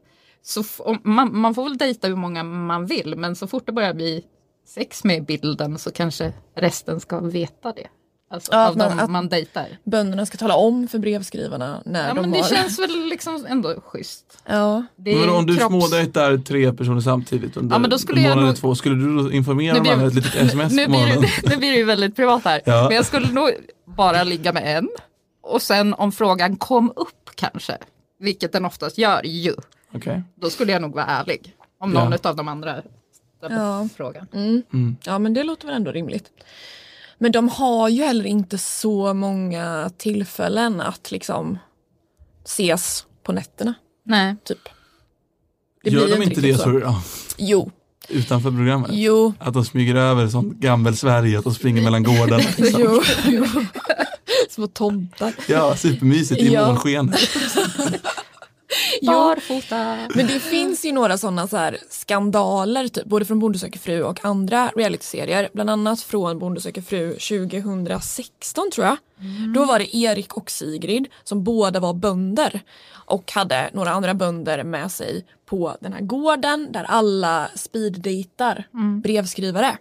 S7: så f- om, man, man får väl dejta hur många man vill, men så fort det börjar bli sex med i bilden så kanske resten ska veta det. Alltså
S2: Ja,
S7: av
S2: men
S7: dem
S2: att-
S7: man dejtar.
S2: Bönderna ska tala om för brevskrivarna när
S7: Ja,
S2: de
S7: men det
S2: har...
S7: känns väl liksom ändå schysst.
S2: Ja.
S7: Det är
S1: men om du
S7: kropps-
S1: smådejtar tre personer samtidigt under
S7: Ja, men då skulle
S1: en
S7: jag
S1: månad eller
S7: nog-
S1: två, skulle du då informera
S7: Nu
S1: dem
S7: blir-
S1: alla ett litet sms
S7: nu,
S1: på
S7: blir
S1: morgonen?
S7: det, nu blir det ju väldigt privat här.
S1: Ja.
S7: Men jag skulle nog bara ligga med en. Och sen om frågan kom upp kanske, vilket den oftast gör ju,
S1: Okej.
S7: då skulle jag nog vara ärlig. Om
S1: Ja.
S7: någon av de andra ställer
S2: Ja.
S7: frågan.
S2: Mm.
S1: Mm.
S2: Ja men det låter väl ändå rimligt. Men de har ju heller inte så många tillfällen att liksom ses på nätterna.
S7: Nej.
S2: Typ.
S1: Gör
S2: blir
S1: de
S2: ju
S1: inte det
S2: riktigt
S1: så, ja,
S2: Jo.
S1: utanför programmet?
S2: Jo.
S1: Att de smyger över sånt gammel-Sverige, att de springer mellan gårdarna. liksom.
S2: jo. jo. Små tomtar.
S1: Ja, supermysigt i
S2: Ja.
S1: månskenet.
S2: Jo.
S7: Barfota.
S2: Men det finns ju några sådana så här skandaler, typ, både från Bonde söker fru och andra realityserier. Bland annat från Bonde söker fru 2016 tror jag.
S7: Mm.
S2: Då var det Erik och Sigrid som båda var bönder och hade några andra bönder med sig på den här gården där alla speeddejtar
S7: Mm.
S2: brevskrivare.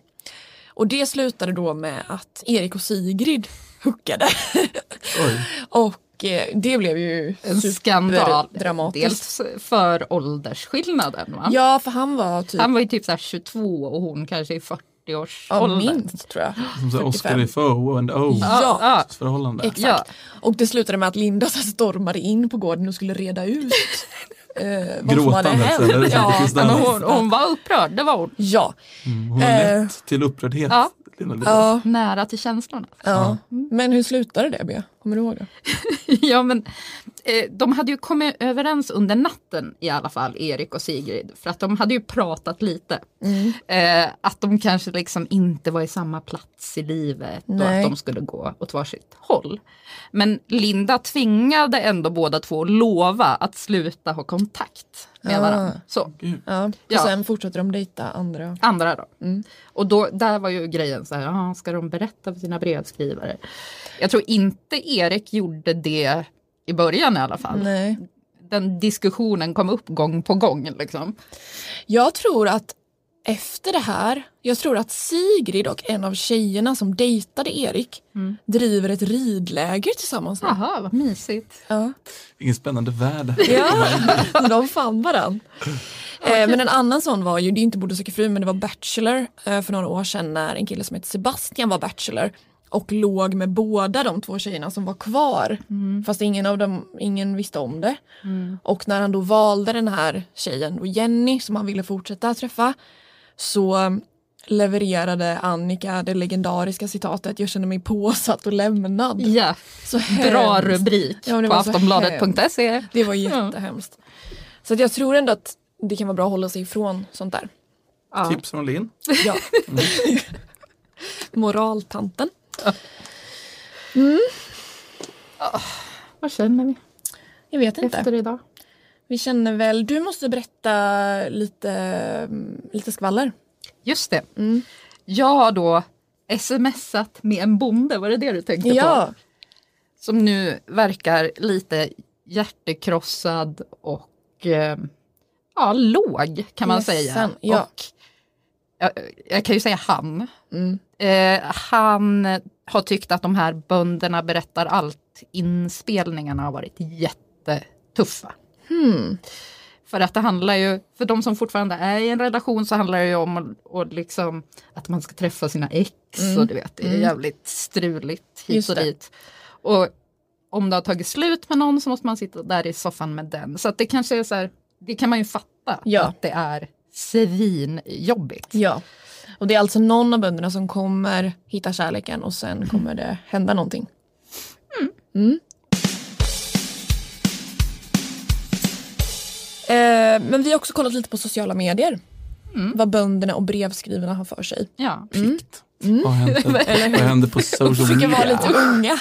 S2: Och det slutade då med att Erik och Sigrid hookade. och Och eh, det blev ju
S7: En skandal.
S2: dramatiskt.
S7: Dels för åldersskillnaden va?
S2: Ja, för han var typ...
S7: Han var ju typ så här 22 och hon kanske i 40 års
S2: Ja,
S7: ålder.
S2: minst tror jag.
S1: Som så här
S2: 45.
S1: Oscar i Foe and O.
S2: Ja.
S1: Förhållande.
S2: Exakt. Och det slutade med att Linda så här stormade in på gården och skulle reda ut eh, vad som hade
S1: Gråtandes, eller?
S2: hänt.
S1: Som
S2: Ja,
S1: Kristina.
S2: men
S7: Hon, hon var upprörd, det var hon.
S2: Ja.
S1: Mm, Hon är
S2: Eh.
S1: lätt till upprördhet.
S7: Ja.
S1: Lena Lindberg.
S7: ja. Nära till känslorna.
S2: Ja. Men hur slutade det Bea? Kommer du ihåg det?
S7: ja, men, eh, de hade ju kommit överens under natten i alla fall, Erik och Sigrid. För att de hade ju pratat lite.
S2: Mm.
S7: Eh, att de kanske liksom inte var i samma plats i livet och
S2: Nej.
S7: att de skulle gå åt varsitt håll. Men Linda tvingade ändå båda två att lova att sluta ha kontakt med
S2: Ah.
S7: varandra. Så.
S2: Ja. Och
S7: Ja.
S2: sen fortsatte de dejta andra.
S7: Andra då.
S2: Mm.
S7: Och då, där var ju grejen så här, "Ah, ska de berätta för sina brevskrivare? Jag tror inte Erik gjorde det i början i alla fall.
S2: Nej.
S7: Den diskussionen kom upp gång på gång. Liksom.
S2: Jag tror att efter det här, jag tror att Sigrid och en av tjejerna som dejtade Erik driver ett ridläger tillsammans. nu.
S7: Jaha, vad mysigt.
S2: Ja.
S1: Ingen spännande värld.
S2: Ja, de fann varann. Eh, men en annan sån var ju, det är inte Borde söka fru men det var Bachelor eh, för några år sedan när en kille som heter Sebastian var Bachelor och låg med båda de två tjejerna som var kvar fast ingen av dem, ingen visste om det. Och när han då valde den här tjejen, då Jenny, som han ville fortsätta träffa så eh, levererade Annika det legendariska citatet Jag känner mig påsatt och lämnad.
S7: Ja,
S2: så
S7: Bra
S2: hemskt.
S7: rubrik
S2: Ja, men det
S7: på
S2: var så hemskt.
S7: aftonbladet.se.
S2: Det var jättehemskt. Så att jag tror ändå att det kan vara bra att hålla sig ifrån sånt där.
S1: Tips från Linn.
S2: Ja. Moraltanten. Mm.
S7: Vad känner vi?
S2: Jag vet inte.
S7: Efter idag.
S2: Vi känner väl, du måste berätta lite, mm, lite skvaller.
S7: Just det.
S2: Mm.
S7: Jag har då smsat med en bonde, var det det du tänkte
S2: Ja.
S7: på? Som nu verkar lite hjärtekrossad och eh, ja, låg kan man säga.
S2: Ledsen, ja.
S7: Och, jag, jag kan ju säga han.
S2: Mm.
S7: Eh, han har tyckt att de här bönderna berättar allt. Inspelningarna har varit jättetuffa.
S2: Hmm.
S7: För att det handlar ju, för de som fortfarande är i en relation så handlar det ju om att- och liksom, att man ska träffa sina ex
S2: Mm.
S7: och du vet, det är
S2: Mm.
S7: jävligt struligt hit
S2: Just
S7: och
S2: det.
S7: dit. Och om det har tagit slut med någon så måste man sitta där i soffan med den. Så att det kanske är så här, det kan man ju fatta
S2: Ja.
S7: att det är svinjobbigt.
S2: Ja. Och det är alltså någon av bönderna som kommer hitta kärleken och
S7: Mm.
S2: sen kommer det hända någonting. Mm. Eh, men vi har också kollat lite på sociala medier.
S7: Mm.
S2: Vad bönderna och brevskrivarna har för sig.
S7: Ja.
S1: Vad
S7: Mm.
S1: händer, vad händer på social
S2: Försöka
S1: media?
S2: vara lite unga.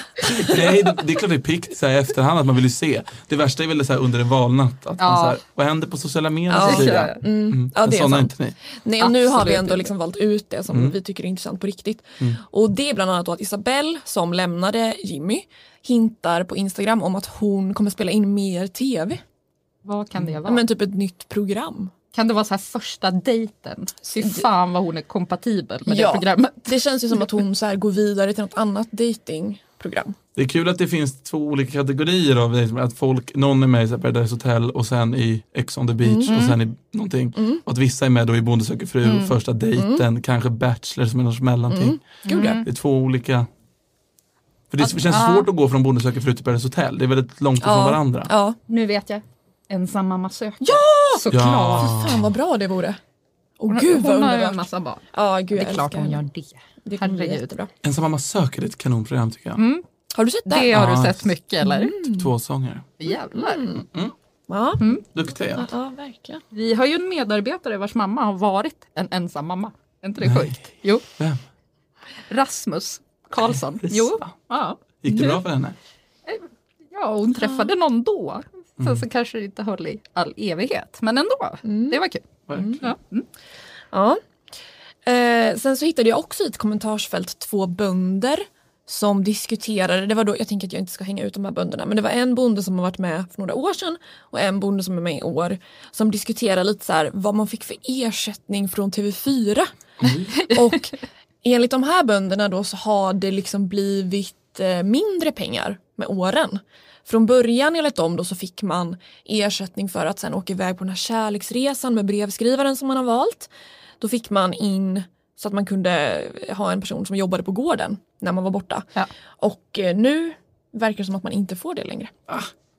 S1: Nej, det, det är klart det är pikt så här, i efterhand att man vill ju se. Det värsta är väl det så här, under en valnatt. Att man,
S2: Ja.
S1: så här, vad händer på sociala medier?
S2: Ja.
S1: Cecilia?
S2: Mm. Ja,
S1: Men
S2: det är
S1: sådana är
S2: sant.
S1: inte ni.
S2: Nej, och nu har vi
S7: Absolut
S2: ändå
S7: inte.
S2: liksom valt ut det som
S1: Mm.
S2: vi tycker är intressant på riktigt.
S1: Mm.
S2: Och det är bland annat då att Isabelle som lämnade Jimmy hintar på Instagram om att hon kommer spela in mer tv.
S7: Vad kan det
S2: Ja,
S7: vara?
S2: Men typ ett nytt program.
S7: kan det vara så här första dejten? Fy fan vad hon är kompatibel med
S2: Ja.
S7: det programmet.
S2: Det känns ju som att hon så här går vidare till något annat datingprogram.
S7: Mm.
S1: Det är kul att det finns två olika kategorier av det, att folk, någon är med i så här Paradise Hotel och sen i Ex on the beach
S2: Mm.
S1: och sen i någonting.
S2: Mm.
S1: Och att vissa är med då i Bonde söker fru,
S2: Mm.
S1: första dejten, kanske Bachelor som är något mellanting.
S2: Mm. Gud, ja.
S1: Det är två olika. För det
S7: Att-
S1: känns
S7: ja.
S1: svårt att gå från Bonde söker fru till Paradise Hotel, det är väldigt långt ifrån varandra.
S2: Ja.
S7: Nu vet jag. Ensam mamma söker. Ja! Såklart.
S1: Ja.
S2: Fan vad bra det vore. Åh
S7: Hon,
S2: gud vad
S7: hon har ju en
S2: underbart.
S7: massa barn.
S2: Ja, gud,
S7: det
S2: jag
S7: är klart
S2: älskar
S7: hon
S2: henne.
S7: gör det.
S2: Det kommer bli
S7: Herregud.
S2: jättebra.
S1: Ensam mamma söker, det är ett kanonprogram tycker jag.
S7: Mm.
S2: Har du sett det?
S7: Det har
S1: Ja,
S7: du sett mycket eller?
S1: Typ två sånger.
S7: Jävlar.
S2: Ja.
S7: Mm.
S1: Duktiga.
S2: ja, verkligen.
S7: Vi har ju en medarbetare vars mamma har varit en ensam mamma. Är inte det
S1: Nej.
S7: sjukt? Jo.
S1: Vem?
S7: Rasmus Karlsson.
S1: Det är
S7: Jo.
S1: sant.
S7: Ja.
S1: Gick det
S7: Nu-
S1: bra för henne?
S7: Ja, hon träffade någon då. Sen
S1: Mm.
S7: så kanske det inte höll i all evighet. Men ändå, det var kul.
S1: Verkligen.
S7: Ja.
S2: Ja. Eh, sen så hittade jag också i ett kommentarsfält två bönder som diskuterade, det var då, jag tänker att jag inte ska hänga ut de här bönderna, men det var en bonde som har varit med för några år sedan och en bonde som är med i år som diskuterade lite så här vad man fick för ersättning från TV4. Och enligt de här bönderna då så har det liksom blivit eh, mindre pengar med åren. Från början enligt dem då så fick man ersättning för att sen åka iväg på den här kärleksresan med brevskrivaren som man har valt. Då fick man in så att man kunde ha en person som jobbade på gården när man var borta. Och eh, nu verkar det som att man inte får det längre.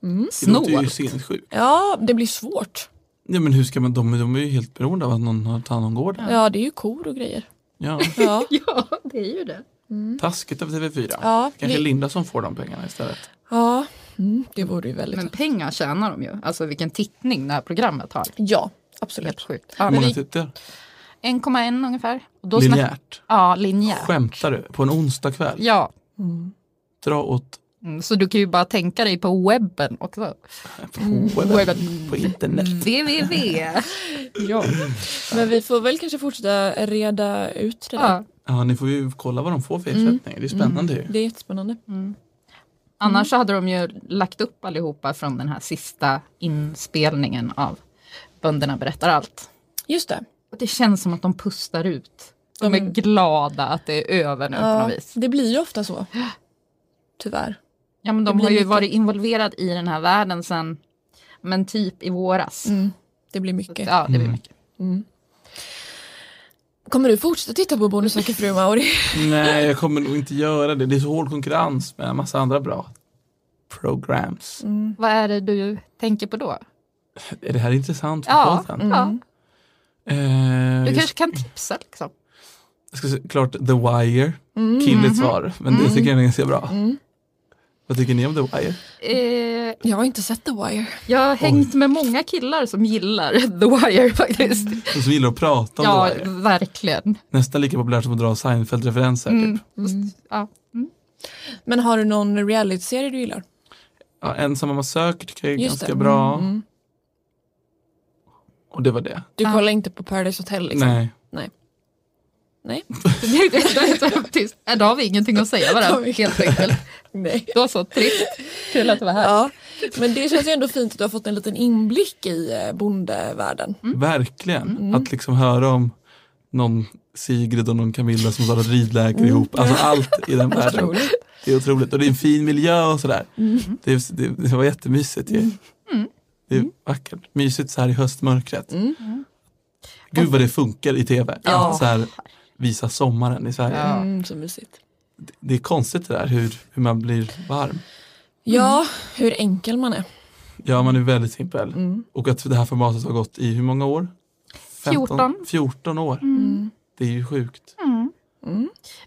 S2: Mm.
S1: Det låter ju sinnessjukt.
S2: Ja, det blir svårt.
S1: Ja men hur ska man, de, de är ju helt beroende av att någon har tagit hand om gården.
S2: Ja, det är ju kor och grejer.
S1: Ja.
S2: Ja,
S7: det är ju det. Mm.
S1: Taskigt av TV4.
S2: Ja,
S1: Kanske
S2: vi-
S1: Linda som får de pengarna istället.
S2: Ja, mm, det vore ju väldigt...
S7: Men pengar tjänar de ju. Alltså vilken tittning det här programmet har.
S2: Ja, absolut.
S7: Helt sjukt.
S1: Hur
S7: Ja,
S1: många
S7: men vi-
S1: tittar?
S7: 1,1 ungefär. Och då snack-
S1: Linjärt?
S7: Ja, linjärt.
S1: Skämtar du? På en onsdag kväll?
S7: Ja.
S1: Dra åt
S7: Mm, Så du kan ju bara tänka dig på webben också.
S1: på
S7: Mm.
S1: webben, på internet.
S7: www.
S2: ja. Men vi får väl kanske fortsätta reda ut det där.
S7: Ja.
S1: Ja, ni får ju kolla vad de får för
S7: Mm.
S1: ersättning. Det är spännande ju.
S2: Det är jättespännande.
S7: Annars så hade de ju lagt upp allihopa från den här sista inspelningen av Bönderna berättar allt.
S2: Just det.
S7: Och det känns som att de pustar ut. De är glada att det är över nu på något vis.
S2: det blir ju ofta så. Tyvärr.
S7: Ja, men
S2: Det
S7: de
S2: blir
S7: har ju
S2: mycket.
S7: varit involverad i den här världen sen, men typ i våras.
S2: Mm. Det blir mycket.
S7: Ja, det blir
S1: Mm.
S7: mycket.
S2: Kommer du fortsätta titta på Bonus söker fru Mauri?
S7: Mm.
S1: Nej, jag kommer nog inte göra det. Det är så hård konkurrens med en massa andra bra programs.
S7: Vad är det du tänker på då?
S1: Är det här intressant för
S7: Ja,
S1: podden?
S7: ja.
S1: Eh,
S7: du
S1: jag
S7: kanske kan tipsa liksom.
S1: jag ska såklart The Wire,
S2: Mm. Mhm.
S1: killigt svar, men det tycker jag är ganska bra. Vad tycker ni om The Wire?
S7: Eh,
S2: Jag har inte sett The Wire.
S7: jag har hängt med många killar som gillar The Wire faktiskt.
S1: De Mm. som gillar att prata om
S7: Ja,
S1: The Wire.
S7: verkligen.
S1: Nästan lika populärt som att dra Seinfeld-referenser.
S2: Mm.
S1: Typ.
S7: Ja.
S2: Men har du någon realityserie du gillar?
S1: Ja, Ensamma Massaker tycker jag är
S2: Just
S1: ganska
S2: det.
S1: bra.
S2: Mm.
S1: Och det var det.
S2: Du kollar inte på Paradise Hotel liksom?
S1: Nej.
S2: Nej. Nej.
S7: Tyst. Äh, Då har vi ingenting att säga
S2: Då har
S7: varandra,
S2: vi-
S7: helt enkelt.
S2: Nej.
S7: Då så, trist. Kul att du var här.
S2: Ja, men det känns ju ändå fint att du har fått en liten inblick i eh, bondevärlden.
S1: Verkligen.
S2: Mm.
S1: Att liksom höra om någon Sigrid och någon Camilla som startat ridläger
S2: Mm.
S1: ihop. Alltså allt i den världen. Det är otroligt. Och det är en fin miljö och sådär.
S7: Mm.
S1: Det, det, det var jättemysigt ju. Det
S7: Mm.
S1: är vackert. Mysigt så här i höstmörkret. Gud vad det funkar i tv.
S7: Ja.
S1: Att så här visa sommaren i Sverige.
S7: Ja.
S2: Mm, så mysigt.
S1: Det är konstigt det där hur, hur man blir varm.
S2: Ja, hur enkel man är.
S1: Ja, man är väldigt simpel.
S7: Mm.
S1: Och att det här formatet har gått i hur många år?
S7: 14.
S1: 14 år.
S7: Mm.
S1: Det är ju sjukt.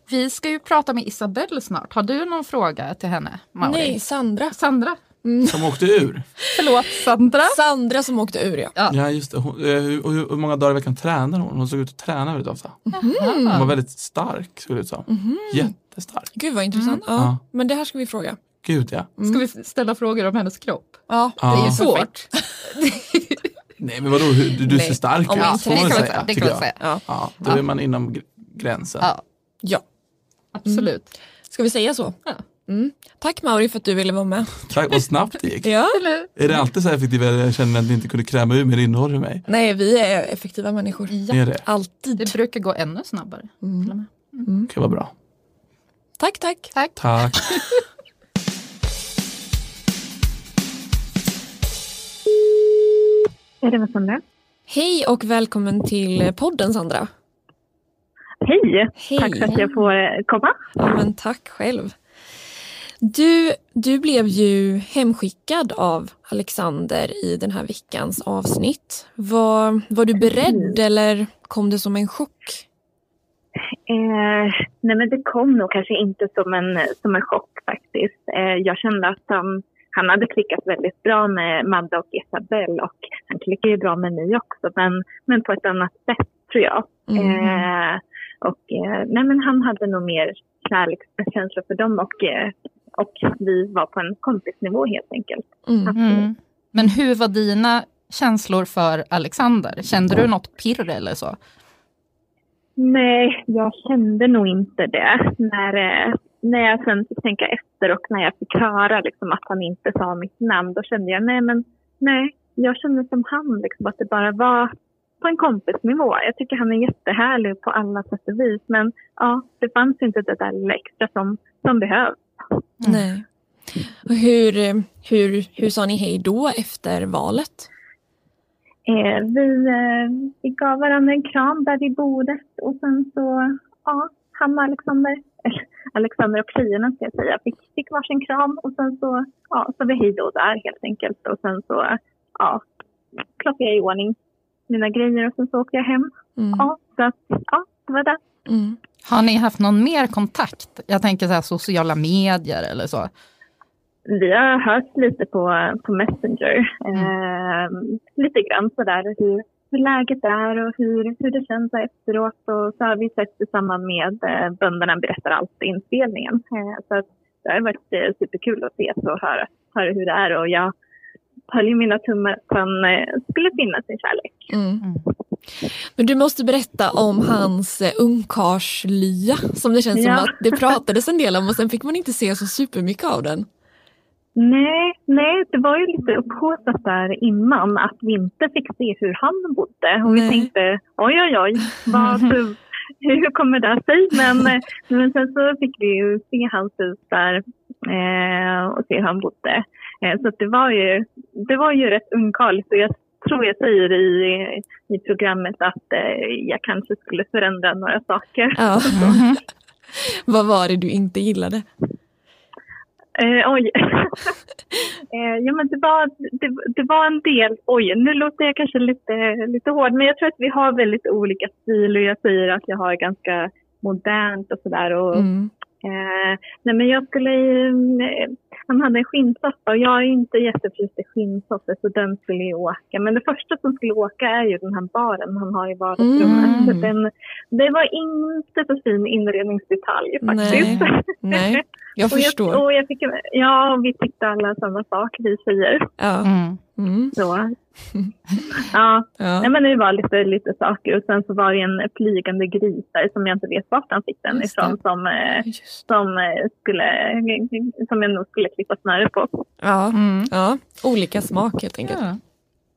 S7: Vi ska ju prata med Isabelle snart. Har du någon fråga till henne, Mauri?
S2: Nej, Sandra.
S7: Sandra?
S1: Som åkte ur.
S7: Förlåt, Sandra.
S2: Sandra som åkte ur ja.
S1: Ja, just det. Hon, eh, hur, hur, hur många dagar i veckan tränar hon? Hon såg ut att träna väldigt ofta.
S7: Mm.
S1: Hon var väldigt stark, såg det ut som. Jättestark.
S2: Gud vad intressant. Ja.
S1: Ja.
S2: Men det här ska vi fråga.
S1: Gud ja.
S7: Ska vi ställa frågor om hennes kropp?
S2: Ja,
S1: Ja.
S7: Det är ju svårt.
S1: Nej, men vadå, hur, du, du
S2: Nej.
S1: ser stark
S2: Om
S1: ut.
S2: inte-
S1: får man
S7: det
S1: väl
S7: kan man
S1: säga,
S7: säga, det
S1: tycker
S7: kan
S1: jag.
S7: man säga.
S2: Ja.
S1: Ja, då är man inom gr- gränsen.
S7: Ja.
S2: ja.
S7: Absolut.
S2: Ska vi säga så?
S7: Ja.
S2: Mm. Tack Mauri för att du ville vara med.
S1: Tack, vad snabbt det gick.
S2: Ja.
S7: Eller?
S1: Är det alltid så här effektivt att jag känner att ni inte kunde kräma ur mer innehåll ur mig?
S2: Nej, vi är effektiva människor.
S1: Ni Är det?
S2: Alltid.
S7: Det brukar gå ännu snabbare. till och med.
S1: Okej, vad bra.
S2: Tack, tack.
S7: Tack.
S1: Tack.
S14: Är det med Sandra?
S2: Hej och välkommen till podden Sandra.
S14: Hej!
S2: Hej.
S14: Tack för att jag får eh, komma.
S2: Ja, men tack själv. Du, du blev ju hemskickad av Alexander i den här veckans avsnitt. Var, var du beredd eller kom det som en chock?
S14: Eh, nej men det kom nog kanske inte som en, som en chock faktiskt. Eh, jag kände att han, han hade klickat väldigt bra med Madde och Isabelle och han klickar ju bra med mig också men, men på ett annat sätt tror jag.
S15: Mm.
S14: Eh, och, eh, nej men han hade nog mer kärlekskänsla för dem och, eh, och vi var på en kompisnivå helt enkelt.
S7: Mm. Men hur var dina känslor för Alexander? Kände du något pirr eller så?
S14: Nej, jag kände nog inte det. När, eh, när jag sen fick tänka efter och när jag fick höra liksom att han inte sa mitt namn, då kände jag nej, men nej, jag kände som han, liksom, att det bara var på en kompisnivå. Jag tycker han är jättehärlig på alla sätt och vis, men ja, det fanns inte det där lilla extra som, som behövs.
S2: Nej. Och hur, eh, hur, hur sa ni hej då efter valet?
S14: Eh, vi, eh, vi gav varandra en kram där vid bordet och sen så, ja, han och Alexander, eller Alexander och tjejerna ska jag säga, fick, fick varsin kram och sen så, ja, så vi hej då där helt enkelt och sen så, ja, plockade jag i ordning mina grejer och sen så åkte jag hem.
S2: Mm.
S14: Ja, så att, ja, det var det.
S7: Har ni haft någon mer kontakt? Jag tänker så här sociala medier eller så.
S14: Vi har hört lite på, på Messenger. Eh, lite grann sådär hur, hur läget är och hur, hur det känns efteråt. Och så har vi sett i samband med eh, Bönderna berättar allt på inspelningen. Eh, så att det har varit eh, superkul att ses och höra, höra hur det är. Och jag höll ju mina tummar att han eh, skulle finna sin kärlek.
S2: Mm. Men du måste berätta om hans eh, ungkarlslya som det känns
S14: Ja.
S2: som att det pratades en del om och sen fick man inte se så supermycket av den.
S14: Nej, nej, det var ju lite upphaussat där innan att vi inte fick se hur han bodde. Och vi
S2: Nej.
S14: tänkte oj, oj, oj, vad, hur, hur kommer det sig? Men, eh, men sen så fick vi ju se hans hus där eh, och se hur han bodde. Eh, så att det, var ju, det var ju rätt ungkarligt och jag tror jag säger i, i programmet att eh, jag kanske skulle förändra några saker.
S2: Ja.
S14: Mm.
S2: Vad var det du inte gillade?
S14: Eh, oj. eh, ja, men det, var, det, det var en del. Oj, nu låter jag kanske lite, lite hård, men jag tror att vi har väldigt olika stil och jag säger att jag har ganska modernt och sådär. Och,
S2: Mm.
S14: eh, nej, men jag skulle... eh, Han hade en skinnsoffa och jag är inte jätteförtjust i skinnsoffor så den skulle ju åka. Men det första som skulle åka är ju den här baren han har i vardagsrummet.
S2: Mm.
S14: Så den, det var inte så fin inredningsdetalj faktiskt.
S2: Nej, nej, jag
S14: Och
S2: förstår.
S14: och jag fick, ja, vi tyckte alla samma sak, vi tjejer.
S2: Ja. Mm.
S14: Så. Ja. Nej, men det var lite, lite saker och sen så var det en flygande gris där som jag inte vet vart han fick den
S2: Just
S14: ifrån
S2: det.
S14: som, eh, som, eh, skulle, som jag nog skulle klippa snöret på.
S2: Ja, ja. olika smak helt enkelt.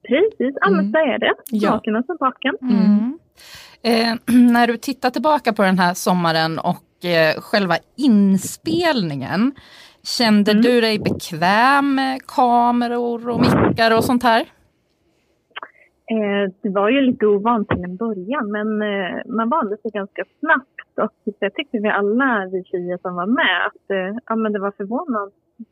S14: Precis, ja
S2: Mm.
S14: men så är det.
S7: Ja.
S14: Smakerna som baken.
S7: Mm. Eh, när du tittar tillbaka på den här sommaren och eh, själva inspelningen, kände
S14: Mm.
S7: du dig bekväm med kameror och mickar och sånt här?
S14: Eh, det var ju lite ovant till en början, men eh, man vande sig ganska snabbt. Och jag tyckte vi alla, vi tjejer som var med, att eh, ja, men det var förvånad,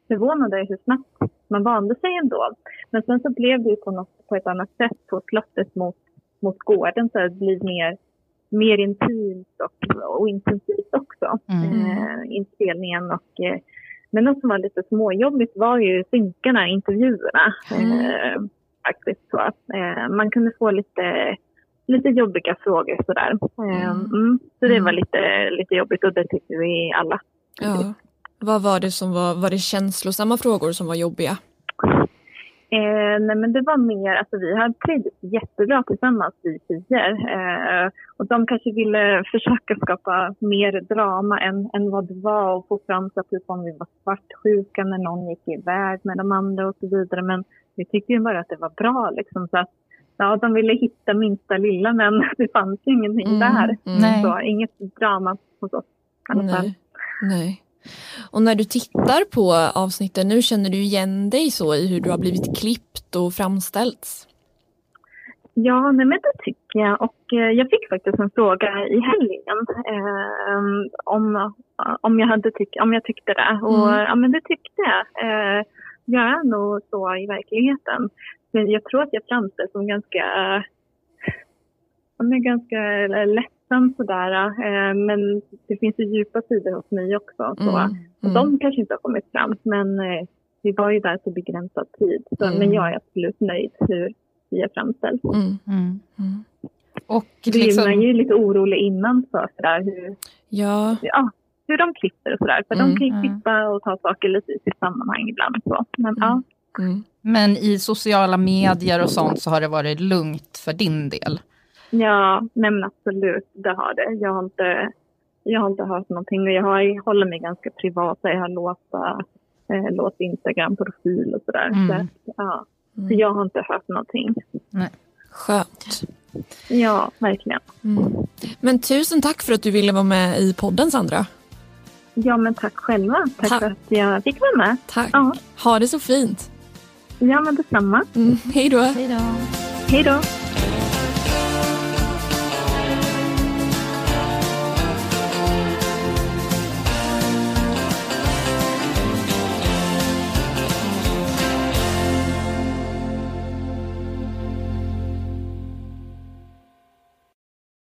S14: förvånande hur snabbt man vande sig ändå. Men sen så blev det ju på, något, på ett annat sätt på slottet mot, mot gården, så det blir mer, mer intimt och, och intensivt också,
S7: Mm.
S14: eh, inspelningen. Och, eh, men något som var lite småjobbigt var ju synkarna, intervjuerna. Eh, faktiskt så. Eh, man kunde få lite, lite jobbiga frågor sådär. Eh, mm. Så det var lite, lite jobbigt och det tyckte vi alla.
S2: Ja. Vad var det som var, var det känslosamma frågor som var jobbiga?
S14: Eh, nej men det var mer, alltså vi har trivts jättebra tillsammans vi tjejer. Eh, och de kanske ville försöka skapa mer drama än, än vad det var och få fram så att typ om vi var svartsjuka när någon gick iväg med de andra och så vidare. Men vi tyckte ju bara att det var bra liksom. Så att, ja, de ville hitta minsta lilla men det fanns ju ingenting
S2: Mm,
S14: där.
S2: nej.
S14: Så inget drama hos oss i alla fall.
S2: Nej. Nej. Och när du tittar på avsnitten nu, känner du igen dig så i hur du har blivit klippt och framställts?
S14: Ja, nej, men det tycker jag. Och eh, jag fick faktiskt en fråga i helgen eh, om, eh, om, jag hade tyck, om jag tyckte det. Och
S15: Mm.
S14: ja, men det tyckte jag. Eh, jag är nog så i verkligheten. Men jag tror att jag framställs som ganska, som är ganska ledsam sådär. Eh, men det finns ju djupa sidor hos mig också. Så.
S2: Mm,
S14: Och de kanske inte har kommit fram. Men eh, vi var ju där på begränsad tid. Så,
S7: Mm.
S14: Men jag är absolut nöjd hur vi är framställt.
S7: Mm. Och
S14: Det är-
S7: liksom-
S14: Man är ju lite orolig innan för sådär, hur,
S2: ja.
S14: hur de klipper och sådär. För
S7: Mm.
S14: de kan ju klippa och ta saker lite i sitt sammanhang ibland. Så. Men, ja.
S2: Mm.
S7: Men i sociala medier och sånt så har det varit lugnt för din del?
S14: ja, nej men absolut, det har det. Jag har inte, jag har inte hört någonting och jag har, jag håller mig ganska privat. Jag har låst, eh, låst Instagram-profil och sådär.
S7: Mm.
S14: Så, att, ja. så jag har inte hört någonting.
S7: Nej.
S2: Skönt.
S14: Ja, verkligen.
S2: Men tusen tack för att du ville vara med i podden Sandra.
S14: Ja, men tack själva. Tack
S2: Tack.
S14: för att jag fick vara med.
S2: Tack.
S14: Ja,
S2: Ha det så fint.
S14: ja men detsamma.
S2: Mm. Hej då.
S14: Hej då.